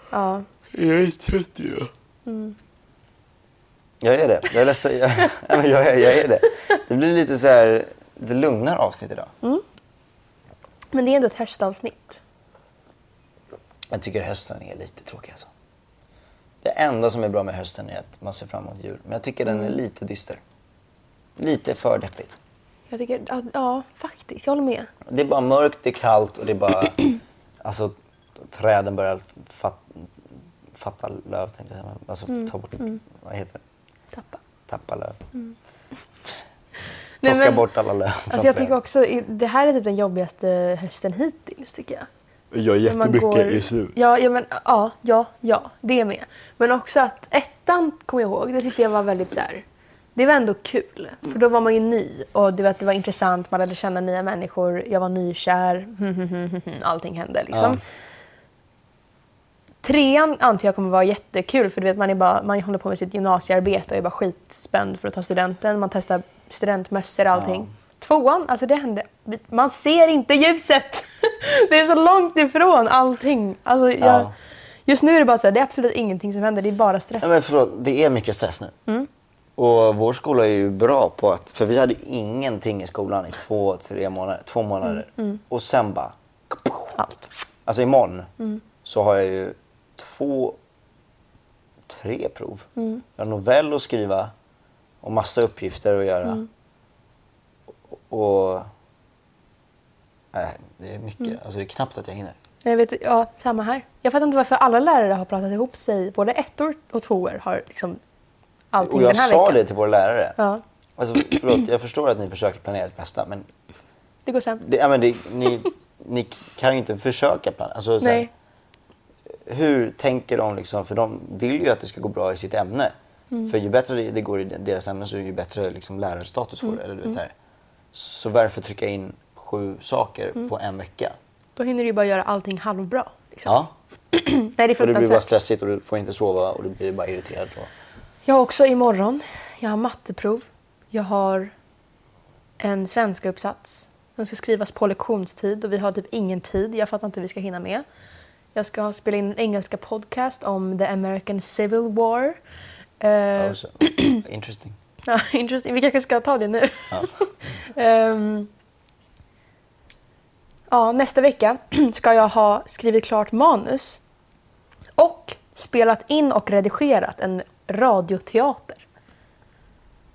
[SPEAKER 1] Ja.
[SPEAKER 2] Jag är trött ju. Jag är det. Jag är ledsen. [LAUGHS] Jag, Nej, men jag, är- jag är det. Det blir lite så här, lite lugnare avsnitt idag.
[SPEAKER 1] Mm. Men det är ändå ett höstavsnitt.
[SPEAKER 2] Jag tycker hösten är lite tråkig alltså. Det enda som är bra med hösten är att man ser fram emot jul. Men jag tycker den är
[SPEAKER 1] Mm.
[SPEAKER 2] lite dyster. Lite för deppigt.
[SPEAKER 1] Jag tycker, ja, ja faktiskt, jag håller med.
[SPEAKER 2] Det är bara mörkt, det är kallt och det
[SPEAKER 1] [CLEARS THROAT]
[SPEAKER 2] är bara... alltså, träden börjar fat, fatta löv, tänkte jag säga. Men Alltså ta bort... Vad heter det?
[SPEAKER 1] Tappa.
[SPEAKER 2] Tappa löv.
[SPEAKER 1] Mm. Nej,
[SPEAKER 2] Plocka
[SPEAKER 1] men-
[SPEAKER 2] bort alla löv från
[SPEAKER 1] Alltså jag
[SPEAKER 2] träden.
[SPEAKER 1] tycker också, i- det här är typ den jobbigaste hösten hittills tycker jag.
[SPEAKER 2] Jag gör
[SPEAKER 1] När man går- Ja, ja, men, ja, ja, ja, det med. Men också att ettan, kommer jag ihåg, det tyckte jag var väldigt så här. Det var ändå kul, för då var man ju ny och det var, det var intressant, man lärde känna nya människor, jag var nykär, [LAUGHS] allting hände liksom.
[SPEAKER 2] Ja.
[SPEAKER 1] Trean antar jag kommer vara jättekul för du vet man, är bara, man håller på med sitt gymnasiearbete och är bara skitspänd för att ta studenten. Man testar studentmössor och allting. Tvåan, alltså det hände. Man ser inte ljuset. [LAUGHS] Det är så långt ifrån allting. Alltså, jag,
[SPEAKER 2] Ja.
[SPEAKER 1] Just nu är det bara så här, det är absolut ingenting som händer. Det är bara stress.
[SPEAKER 2] Nej, men förlåt, det är mycket stress nu.
[SPEAKER 1] Mm.
[SPEAKER 2] Och vår skola är ju bra på att... För vi hade ingenting i skolan i två, tre månader. Två månader. Och sen bara...
[SPEAKER 1] Mm, Allt. Mm.
[SPEAKER 2] Alltså imorgon så har jag ju två, tre prov.
[SPEAKER 1] Mm.
[SPEAKER 2] Jag har novell att skriva och massa uppgifter att göra.
[SPEAKER 1] Mm.
[SPEAKER 2] Och... Nej, det är mycket.
[SPEAKER 1] Mm.
[SPEAKER 2] Alltså det är knappt att jag hinner.
[SPEAKER 1] Nej, vet du, ja, samma här. Jag fattar inte varför alla lärare har pratat ihop sig. Både ettor och tvåor har liksom allting
[SPEAKER 2] Och jag
[SPEAKER 1] den här
[SPEAKER 2] sa
[SPEAKER 1] veckan.
[SPEAKER 2] det till vår lärare.
[SPEAKER 1] Ja,
[SPEAKER 2] Alltså, förlåt, jag förstår att ni försöker planera ert bästa men,
[SPEAKER 1] det går sämst.
[SPEAKER 2] det, ja, men det, ni, ni kan ju inte försöka planera. Alltså, så här,
[SPEAKER 1] Nej.
[SPEAKER 2] hur tänker de liksom, för de vill ju att det ska gå bra i sitt ämne.
[SPEAKER 1] Mm.
[SPEAKER 2] För ju bättre det- det går i deras ämne så ju bättre liksom lärarstatus får
[SPEAKER 1] Mm.
[SPEAKER 2] det. Eller du vet, så, här. så varför trycka in sju saker
[SPEAKER 1] Mm.
[SPEAKER 2] på en vecka?
[SPEAKER 1] Då hinner du ju bara göra allting halvbra. Liksom.
[SPEAKER 2] Ja,
[SPEAKER 1] Nej, det är
[SPEAKER 2] och det blir bara
[SPEAKER 1] fruktansvärt. Eh.
[SPEAKER 2] stressigt och du får inte sova och du blir bara irriterad. Och...
[SPEAKER 1] Jag har också imorgon. Jag har matteprov. Jag har en svenska uppsats. Den ska skrivas på lektionstid och vi har typ ingen tid. Jag fattar inte hur vi ska hinna med. Jag ska spela in en engelska podcast om the American Civil War. Eh,
[SPEAKER 2] Alltså, interesting.
[SPEAKER 1] ja, [LAUGHS] interesting. Vi kanske ska ta det nu.
[SPEAKER 2] Ja.
[SPEAKER 1] [LAUGHS] Ehm, ja, nästa vecka [CLEARS THROAT] ska jag ha skrivit klart manus och spelat in och redigerat en radioteater.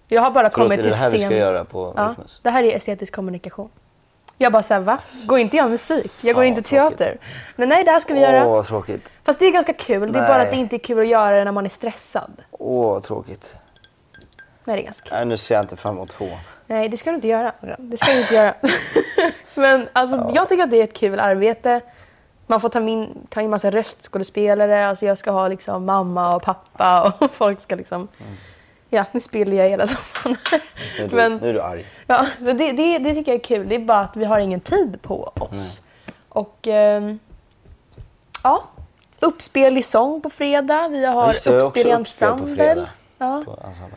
[SPEAKER 1] Jag har bara
[SPEAKER 2] Förlåt,
[SPEAKER 1] kommit
[SPEAKER 2] är
[SPEAKER 1] till
[SPEAKER 2] det det här vi ska
[SPEAKER 1] scen-
[SPEAKER 2] göra på
[SPEAKER 1] Ja,
[SPEAKER 2] Rytmus?
[SPEAKER 1] det här är estetisk kommunikation. Jag bara såhär, va? Går inte jag musik? Jag går
[SPEAKER 2] Ja,
[SPEAKER 1] inte
[SPEAKER 2] tråkigt.
[SPEAKER 1] teater. Men nej, det här ska vi
[SPEAKER 2] Åh,
[SPEAKER 1] göra.
[SPEAKER 2] vad tråkigt.
[SPEAKER 1] Fast det är ganska kul. Det är bara
[SPEAKER 2] Nej.
[SPEAKER 1] att det inte är kul att göra det när man är stressad.
[SPEAKER 2] Åh, vad tråkigt.
[SPEAKER 1] Nej, det är ganska kul.
[SPEAKER 2] Nej, nu ser jag inte fram emot två.
[SPEAKER 1] Nej, det ska du inte göra. Orhan. Det ska du inte
[SPEAKER 2] [LAUGHS]
[SPEAKER 1] göra. Men alltså, jag tycker att det är ett kul arbete. Man får ta in, ta in massa röstskådespelare. Alltså, jag ska ha liksom mamma och pappa och [LAUGHS] folk ska liksom...
[SPEAKER 2] Mm.
[SPEAKER 1] Ja, nu spiller jag hela soffan. här.
[SPEAKER 2] Nu är du,
[SPEAKER 1] Men-
[SPEAKER 2] nu är du arg.
[SPEAKER 1] Ja, men det, det, det tycker jag är kul. Det är bara att vi har ingen tid på oss. Och ehm, ja, uppspel i sång på fredag. Vi har
[SPEAKER 2] Just det, jag har
[SPEAKER 1] uppspel i
[SPEAKER 2] också uppspel på
[SPEAKER 1] ensemble.
[SPEAKER 2] fredag.
[SPEAKER 1] Ja.
[SPEAKER 2] På ensemble.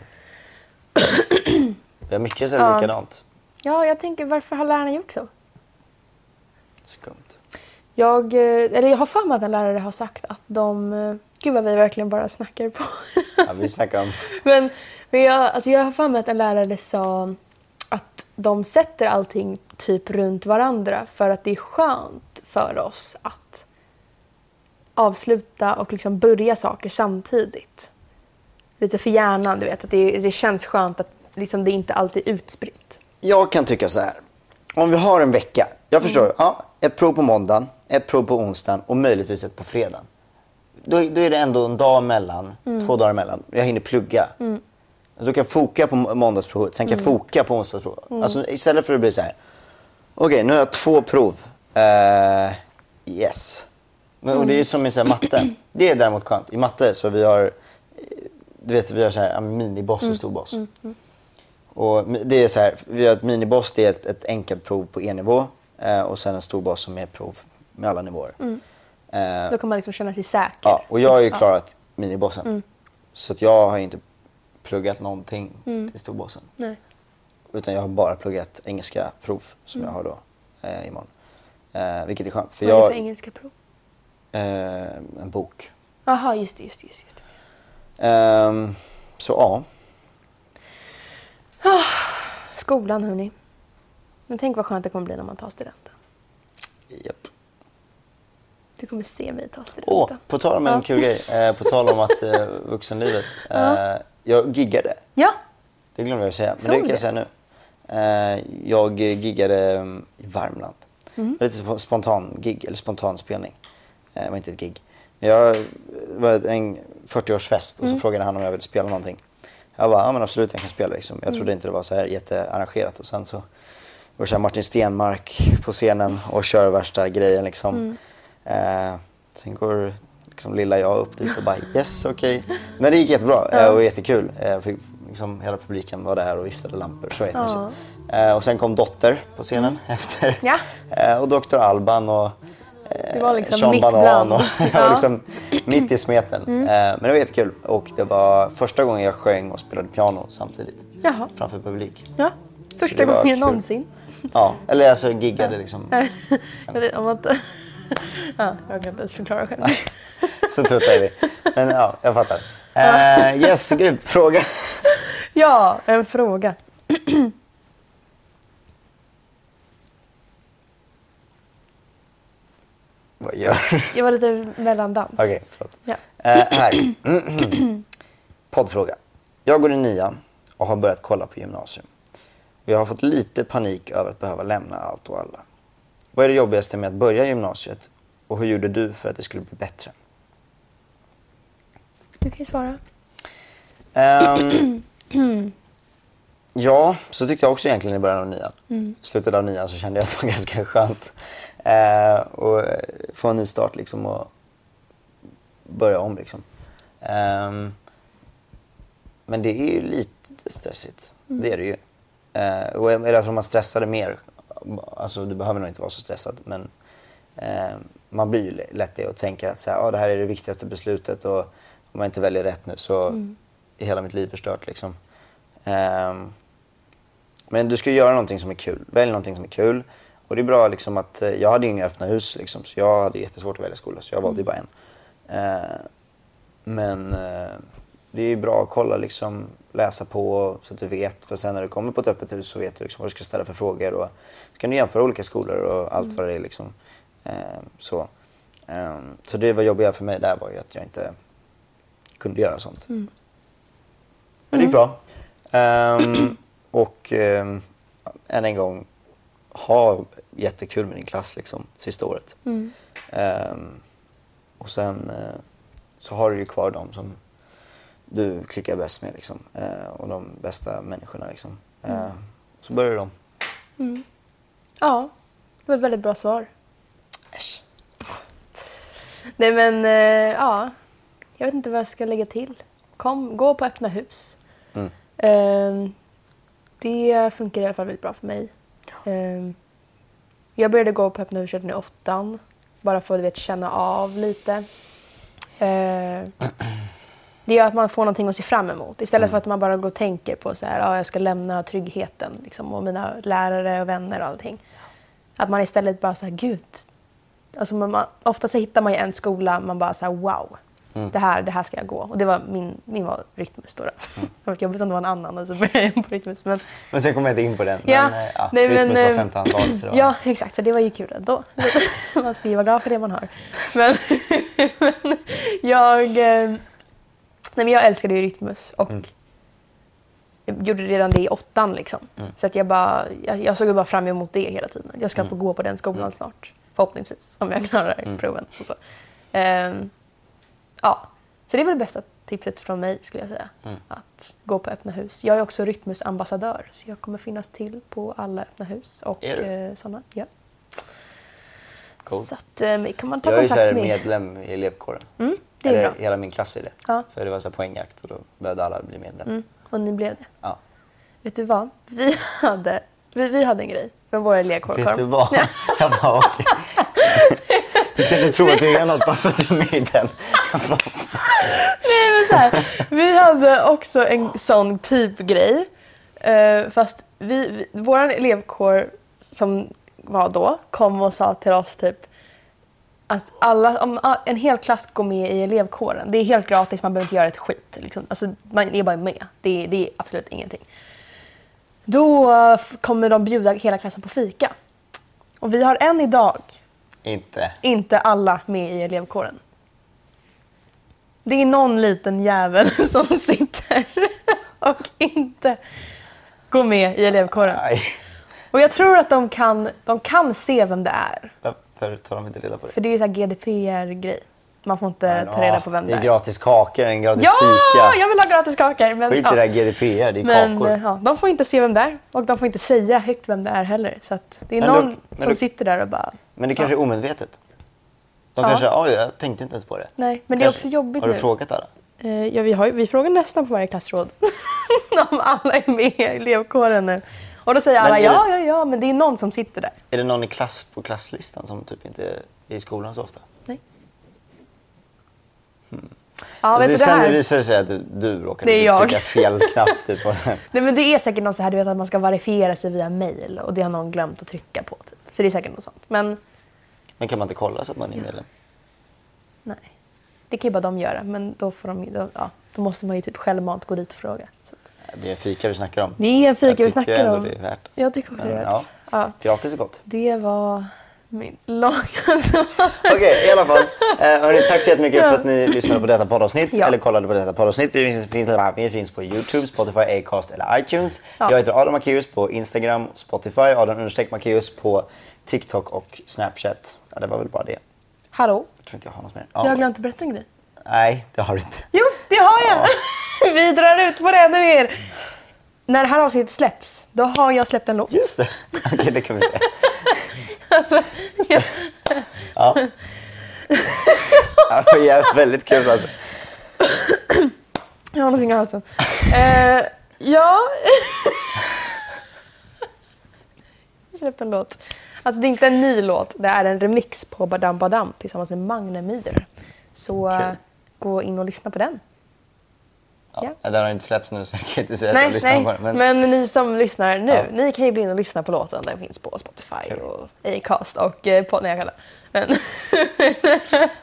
[SPEAKER 2] Vi har mycket som är
[SPEAKER 1] Ja.
[SPEAKER 2] likadant.
[SPEAKER 1] ja, jag tänker varför har lärarna gjort så?
[SPEAKER 2] Skumt.
[SPEAKER 1] Jag, eh, eller jag har för mig att en lärare har sagt att de... eh, Gud vad vi verkligen bara snackar på. [LAUGHS]
[SPEAKER 2] Ja, vi snackar om...
[SPEAKER 1] men men jag, alltså jag har för mig att en lärare sa att de sätter allting typ runt varandra för att det är skönt för oss att avsluta och liksom börja saker samtidigt. Lite för hjärnan, du vet. Att det, det känns skönt att liksom det inte alltid är utspritt.
[SPEAKER 2] Jag kan tycka så här. Om vi har en vecka. Jag förstår. Ja, ett prov på måndagen, ett prov på onsdagen och möjligtvis ett på fredagen. Då, då är det ändå en dag mellan, två dagar mellan. Jag hinner plugga. Då kan jag foka på må- måndagsprovet, sen kan jag foka på onsdagsprovet. Alltså, istället för att bli så här. Okej, nu har jag två prov. Eh, yes. Men, och det är som i så här, matte. Det är däremot skönt. I matte så vi har, eh, du vet, vi har så här, ja, miniboss och storboss. Och det är så här, vi har ett miniboss, det är ett, ett enkelt prov på E-nivå eh, och sen en stor boss som är prov med alla nivåer.
[SPEAKER 1] Mm.
[SPEAKER 2] Eh,
[SPEAKER 1] Då kan man liksom känna sig säker.
[SPEAKER 2] ja, och jag har ju klarat minibossen.
[SPEAKER 1] Mm.
[SPEAKER 2] Så att jag har ju inte pluggat någonting
[SPEAKER 1] Mm.
[SPEAKER 2] till storbossen.
[SPEAKER 1] Nej.
[SPEAKER 2] Utan jag har bara pluggat engelska prov som jag har då eh, imorgon. Eh, vilket är skönt. För
[SPEAKER 1] Mm. Vad är det för
[SPEAKER 2] jag,
[SPEAKER 1] engelska prov?
[SPEAKER 2] eh, en bok.
[SPEAKER 1] Jaha, just det, just det. Just det.
[SPEAKER 2] Ehm, så ja.
[SPEAKER 1] Skolan, hörni. Men tänk vad skönt det kommer bli när man tar studenten.
[SPEAKER 2] Japp.
[SPEAKER 1] Du kommer se mig ta studenten.
[SPEAKER 2] Åh, på tal om en
[SPEAKER 1] Ja.
[SPEAKER 2] kul grej. Eh, på tal om att eh,
[SPEAKER 1] [LAUGHS]
[SPEAKER 2] vuxenlivet. Eh, Jag giggade.
[SPEAKER 1] Ja,
[SPEAKER 2] Det glömde jag säga, men
[SPEAKER 1] Såg
[SPEAKER 2] det kan
[SPEAKER 1] det?
[SPEAKER 2] jag säga nu. Eh, jag giggade mm, i Värmland. Det var Lite sp- spontan gig, eller spontan spelning. Eh, det var inte ett gig. Men jag det var en 40-årsfest och så frågade han om jag ville spela någonting. Jag bara, ja men absolut jag kan spela liksom. Jag trodde inte det var så här jättearrangerat. Och sen så var det så här Martin Stenmark på scenen och kör värsta grejen liksom. Eh, sen går liksom lilla jag upp dit och bara yes, okej. Men det gick jättebra eh, och jättekul. Eh, fick, liksom, hela publiken var där och viftade lampor. Så
[SPEAKER 1] Ja.
[SPEAKER 2] ja. eh, och sen kom Dotter på scenen [LAUGHS] efter.
[SPEAKER 1] Ja.
[SPEAKER 2] Eh, och Dr. Alban och
[SPEAKER 1] det var liksom
[SPEAKER 2] Eh, Sean
[SPEAKER 1] mitt
[SPEAKER 2] Banan.
[SPEAKER 1] bland.
[SPEAKER 2] Och [LAUGHS] jag var
[SPEAKER 1] Ja. Mm.
[SPEAKER 2] liksom mitt i smeten. Eh, men det var jättekul. Och det var första gången jag sjöng och spelade piano samtidigt
[SPEAKER 1] Jaha.
[SPEAKER 2] framför publik.
[SPEAKER 1] Ja.
[SPEAKER 2] Så
[SPEAKER 1] Första
[SPEAKER 2] det var
[SPEAKER 1] gången
[SPEAKER 2] kul.
[SPEAKER 1] någonsin.
[SPEAKER 2] Ja, eller alltså giggade liksom.
[SPEAKER 1] Jag vet om att... [LAUGHS] Ja, jag kan inte ens förklara själv.
[SPEAKER 2] Så trötta är vi. Men ja, jag fattar. Eh, yes, grymt. Fråga.
[SPEAKER 1] Ja, en fråga.
[SPEAKER 2] Vad gör du?
[SPEAKER 1] [LAUGHS] Jag var lite mellandans.
[SPEAKER 2] Okej, förlåt.
[SPEAKER 1] Ja.
[SPEAKER 2] Eh, här. [CLEARS THROAT] Poddfråga. Jag går i nian och har börjat kolla på gymnasium. Och jag har fått lite panik över att behöva lämna allt och alla. Vad är det jobbigaste med att börja gymnasiet? Och hur gjorde du för att det skulle bli bättre?
[SPEAKER 1] Du kan ju svara. [CLEARS THROAT]
[SPEAKER 2] Ehm, ja, så tyckte jag också egentligen i början av nian.
[SPEAKER 1] Mm.
[SPEAKER 2] I slutet av nian så kände jag att det var [LAUGHS] ganska skönt eh, och eh, få en ny start liksom och börja om liksom. Ehm, men det är ju lite stressigt, det är det ju. Eh, och jag, eller jag tror man stressar det mer, alltså du behöver nog inte vara så stressad men eh, man blir ju l- lätt det och tänker att så här, ah, det här är det viktigaste beslutet och om jag inte väljer rätt nu så är hela mitt liv förstört liksom. Ehm, men du ska ju göra någonting som är kul. Välj någonting som är kul. Och det är bra liksom att eh, jag hade ju inga öppna hus liksom, så jag hade jättesvårt att välja skola så jag valde ju bara en. Eh, men eh, det är ju bra att kolla liksom, läsa på så att du vet. För sen när du kommer på ett öppet hus så vet du liksom, vad du ska ställa för frågor och så kan du jämföra olika skolor och allt vad det är liksom. Eh, så. Eh, så det var jobbiga för mig där var ju att jag inte kunde göra sånt. Men det är bra. Ehm, och ehm, än en gång, ha jättekul med din klass liksom, sista året.
[SPEAKER 1] Mm.
[SPEAKER 2] Ehm, och sen eh, så har du ju kvar dem som du klickar bäst med liksom. Eh, och de bästa människorna liksom. Eh, Så börjar de.
[SPEAKER 1] Mm. Ja, det var ett väldigt bra svar. Äsch. Nej men, eh, ja. Jag vet inte vad jag ska lägga till. Kom, gå på öppna hus.
[SPEAKER 2] Mm.
[SPEAKER 1] Ehm, det funkar i alla fall väldigt bra för mig. Ehm, jag började gå på öppna hus redan i åttan. Bara för att du vet, känna av lite. Ehm, det gör att man får någonting att se fram emot. Istället för att man bara går och tänker på så här, ah, jag ska lämna tryggheten liksom, och mina lärare och vänner och allting. Att man istället bara så här, gud. Alltså man, man, ofta så hittar man ju en skola man bara så här, wow. Det, här, det här ska jag gå. Och det var min, min var Rytmus då. då. Det var jobbigt om det var en annan och så började jag på Rytmus. Men,
[SPEAKER 2] Men sen kommer jag inte in på den.
[SPEAKER 1] Ja,
[SPEAKER 2] Men, eh, ja,
[SPEAKER 1] nej,
[SPEAKER 2] Rytmus
[SPEAKER 1] men,
[SPEAKER 2] var
[SPEAKER 1] eh,
[SPEAKER 2] femtehandsval så det var
[SPEAKER 1] Ja, exakt. Så det var ju kul ändå. [LAUGHS] Man ska ju vara glad för det man har. Men, [LAUGHS] men jag... eh, Nej, men jag älskade ju Rytmus och
[SPEAKER 2] Mm.
[SPEAKER 1] jag gjorde redan det i åttan. Liksom. Så att jag, bara, jag, jag såg ju bara fram emot det hela tiden. Jag
[SPEAKER 2] Mm.
[SPEAKER 1] ska få gå på den skolan snart, förhoppningsvis, om jag klarar proven. Och så. Ehm, ja. så det var det bästa tipset från mig, skulle jag säga.
[SPEAKER 2] Mm.
[SPEAKER 1] Att gå på öppna hus. Jag är också Rytmus-ambassadör, så jag kommer finnas till på alla öppna hus och
[SPEAKER 2] Är du?
[SPEAKER 1] eh, sådana. Ja.
[SPEAKER 2] Cool.
[SPEAKER 1] Så att, eh, mig kan man ta
[SPEAKER 2] Jag är ju så här
[SPEAKER 1] kontakt med.
[SPEAKER 2] medlem i elevkåren.
[SPEAKER 1] det är
[SPEAKER 2] Eller
[SPEAKER 1] bra.
[SPEAKER 2] hela min klass är det.
[SPEAKER 1] Ja.
[SPEAKER 2] För det var så här poängjakt och då behövde alla bli medlem.
[SPEAKER 1] Och ni blev det.
[SPEAKER 2] Ja.
[SPEAKER 1] Vet du vad? Vi hade, vi, vi hade en grej med våra
[SPEAKER 2] Vet du
[SPEAKER 1] elevkårkorv.
[SPEAKER 2] vad? [LAUGHS] Jag bara okej. Du ska inte tro att du är något bara för att du är med i den.
[SPEAKER 1] Nej, men så här, vi hade också en sån typ grej. Eh, fast vi, vi, vår elevkår som var då kom och sa till oss typ att alla, om a- en hel klass går med i elevkåren. Det är helt gratis, man behöver inte göra ett skit. Liksom. Alltså, man är bara med. Det är, det är absolut ingenting. Då eh, f- kommer de bjuda hela klassen på fika. Och vi har än idag
[SPEAKER 2] Inte.
[SPEAKER 1] inte alla med i elevkåren. Det är någon liten jävel [LAUGHS] som sitter och inte går med i elevkåren.
[SPEAKER 2] Nej.
[SPEAKER 1] Och jag tror att de kan, de kan se vem det är.
[SPEAKER 2] Varför tar de inte reda på det?
[SPEAKER 1] För det är ju så här GDPR-grej. Man får inte Eh, ta reda på vem det
[SPEAKER 2] Det är
[SPEAKER 1] är.
[SPEAKER 2] gratis kakor, en gratis
[SPEAKER 1] Ja,
[SPEAKER 2] fika.
[SPEAKER 1] jag vill ha gratis kakor! Men,
[SPEAKER 2] Skit i
[SPEAKER 1] ja.
[SPEAKER 2] det här GDPR, det är
[SPEAKER 1] men
[SPEAKER 2] kakor.
[SPEAKER 1] eh, ja, de får inte se vem det är och de får inte säga högt vem det är heller. Så att det är
[SPEAKER 2] Men
[SPEAKER 1] någon
[SPEAKER 2] då- men
[SPEAKER 1] som
[SPEAKER 2] då-
[SPEAKER 1] sitter där och bara...
[SPEAKER 2] Men det kanske är omedvetet. De
[SPEAKER 1] Ja.
[SPEAKER 2] kanske, ja, jag tänkte inte ens på det.
[SPEAKER 1] Nej, men det är
[SPEAKER 2] Kanske.
[SPEAKER 1] också jobbigt
[SPEAKER 2] Har du
[SPEAKER 1] nu.
[SPEAKER 2] frågat alla?
[SPEAKER 1] Eh, ja, vi, har, ju- vi frågar nästan på varje klassråd [LAUGHS] om alla är med i elevkåren nu. Och då säger
[SPEAKER 2] Men
[SPEAKER 1] alla
[SPEAKER 2] är
[SPEAKER 1] ja,
[SPEAKER 2] det-
[SPEAKER 1] ja, ja, men det är någon som sitter där.
[SPEAKER 2] Är det någon i klass på klasslistan som typ inte är i skolan så ofta?
[SPEAKER 1] Nej. Ja, vet du, det
[SPEAKER 2] Alltså, sen
[SPEAKER 1] här...
[SPEAKER 2] visar det sig att du- du råkade
[SPEAKER 1] Det är
[SPEAKER 2] typ
[SPEAKER 1] jag. [LAUGHS]
[SPEAKER 2] trycka fel knapp. Typ, på den.
[SPEAKER 1] Nej, men det är säkert någon så här, du vet att man ska verifiera sig via mail och det har någon glömt att trycka på. Typ. Så det är säkert något sånt. Men
[SPEAKER 2] Men kan man inte kolla så att man är medlem?
[SPEAKER 1] nej, det kan ju bara de göra. Men då, får de, ju- då, ja, då måste man ju typ självmant gå dit och fråga. Så att...
[SPEAKER 2] Det är en fika vi snackar om.
[SPEAKER 1] Det är en fika
[SPEAKER 2] Jag
[SPEAKER 1] vi
[SPEAKER 2] tycker
[SPEAKER 1] snackar
[SPEAKER 2] ändå
[SPEAKER 1] om.
[SPEAKER 2] Det är värt,
[SPEAKER 1] Jag tycker också det är
[SPEAKER 2] Men,
[SPEAKER 1] värt. Ja.
[SPEAKER 2] Gratis är gott.
[SPEAKER 1] Det var min [LAUGHS] långa svar.
[SPEAKER 2] Okej, i alla fall. Eh, hörni, tack så jättemycket för att ni lyssnade på detta poddavsnitt.
[SPEAKER 1] Ja.
[SPEAKER 2] Eller kollade på detta poddavsnitt. Vi finns, finns, vi finns på Youtube, Spotify, Acast eller iTunes.
[SPEAKER 1] Ja.
[SPEAKER 2] Jag heter Adam Macéus på Instagram, Spotify, Adam understreck Macéus på TikTok och Snapchat. Ja, det var väl bara det. Jag
[SPEAKER 1] Hallå?
[SPEAKER 2] tror inte jag har något mer.
[SPEAKER 1] Jag
[SPEAKER 2] Ja.
[SPEAKER 1] har glömt att berätta en grej.
[SPEAKER 2] Nej, det har du inte.
[SPEAKER 1] Jo, det har jag! [LAUGHS] Vi drar ut på det ännu mer. När det här avsnittet släpps, då har jag släppt en låt.
[SPEAKER 2] Just det. [LAUGHS] Okej, det kan vi säga.
[SPEAKER 1] Ja,
[SPEAKER 2] Ja, det var jävligt- väldigt kul alltså.
[SPEAKER 1] [LAUGHS] Jag har någonting i halsen. Eh, ja... [LAUGHS] jag släppte en låt. Alltså det är inte en ny låt, det är en remix på Badam Badam tillsammans med Magne Myhr. Så eh,
[SPEAKER 2] Kul.
[SPEAKER 1] gå in och lyssna på den.
[SPEAKER 2] Ja.
[SPEAKER 1] Ja.
[SPEAKER 2] Den har inte släppts nu så jag kan inte säga att jag
[SPEAKER 1] Nej,
[SPEAKER 2] lyssnar
[SPEAKER 1] nej.
[SPEAKER 2] på den.
[SPEAKER 1] Men...
[SPEAKER 2] Men,
[SPEAKER 1] ni som lyssnar nu,
[SPEAKER 2] Ja.
[SPEAKER 1] ni kan ju gå in och lyssna på låten. Den finns på Spotify
[SPEAKER 2] Kul.
[SPEAKER 1] och Acast och eh, på... Nej, jag kallar. Men...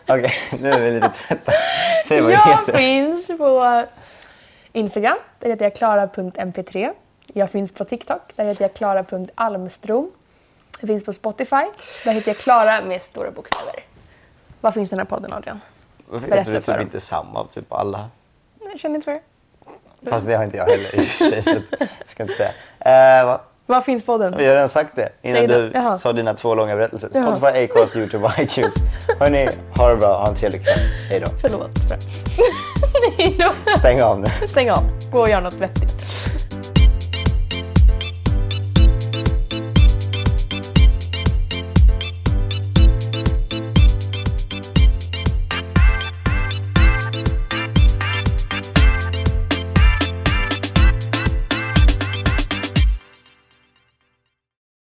[SPEAKER 2] Okej, nu är vi lite trötta. Säg vad du
[SPEAKER 1] jag
[SPEAKER 2] heter.
[SPEAKER 1] finns på Instagram. Där heter jag klara.mp3. Jag finns på TikTok. Där heter jag klara.almstrom. Jag finns på Spotify. Där heter jag Klara med stora bokstäver. Vad finns den här podden, Adrian?
[SPEAKER 2] Varför
[SPEAKER 1] Berätta
[SPEAKER 2] heter du
[SPEAKER 1] för
[SPEAKER 2] typ
[SPEAKER 1] dem.
[SPEAKER 2] inte samma typ på alla?
[SPEAKER 1] Jag känner inte för det.
[SPEAKER 2] Fast det har inte jag heller i och för sig. Så att jag ska inte säga. Eh, va?
[SPEAKER 1] Vad finns podden?
[SPEAKER 2] Vi har redan sagt det innan
[SPEAKER 1] Säg det.
[SPEAKER 2] du
[SPEAKER 1] Jaha.
[SPEAKER 2] sa dina två långa berättelser.
[SPEAKER 1] Jaha.
[SPEAKER 2] Spotify, Acast, Youtube och iTunes. Hörni, ha det bra. Ha en trevlig kväll. Hej då.
[SPEAKER 1] Förlåt för det. [LAUGHS] Hej då.
[SPEAKER 2] Stäng av nu.
[SPEAKER 1] Stäng av. Gå och gör något vettigt.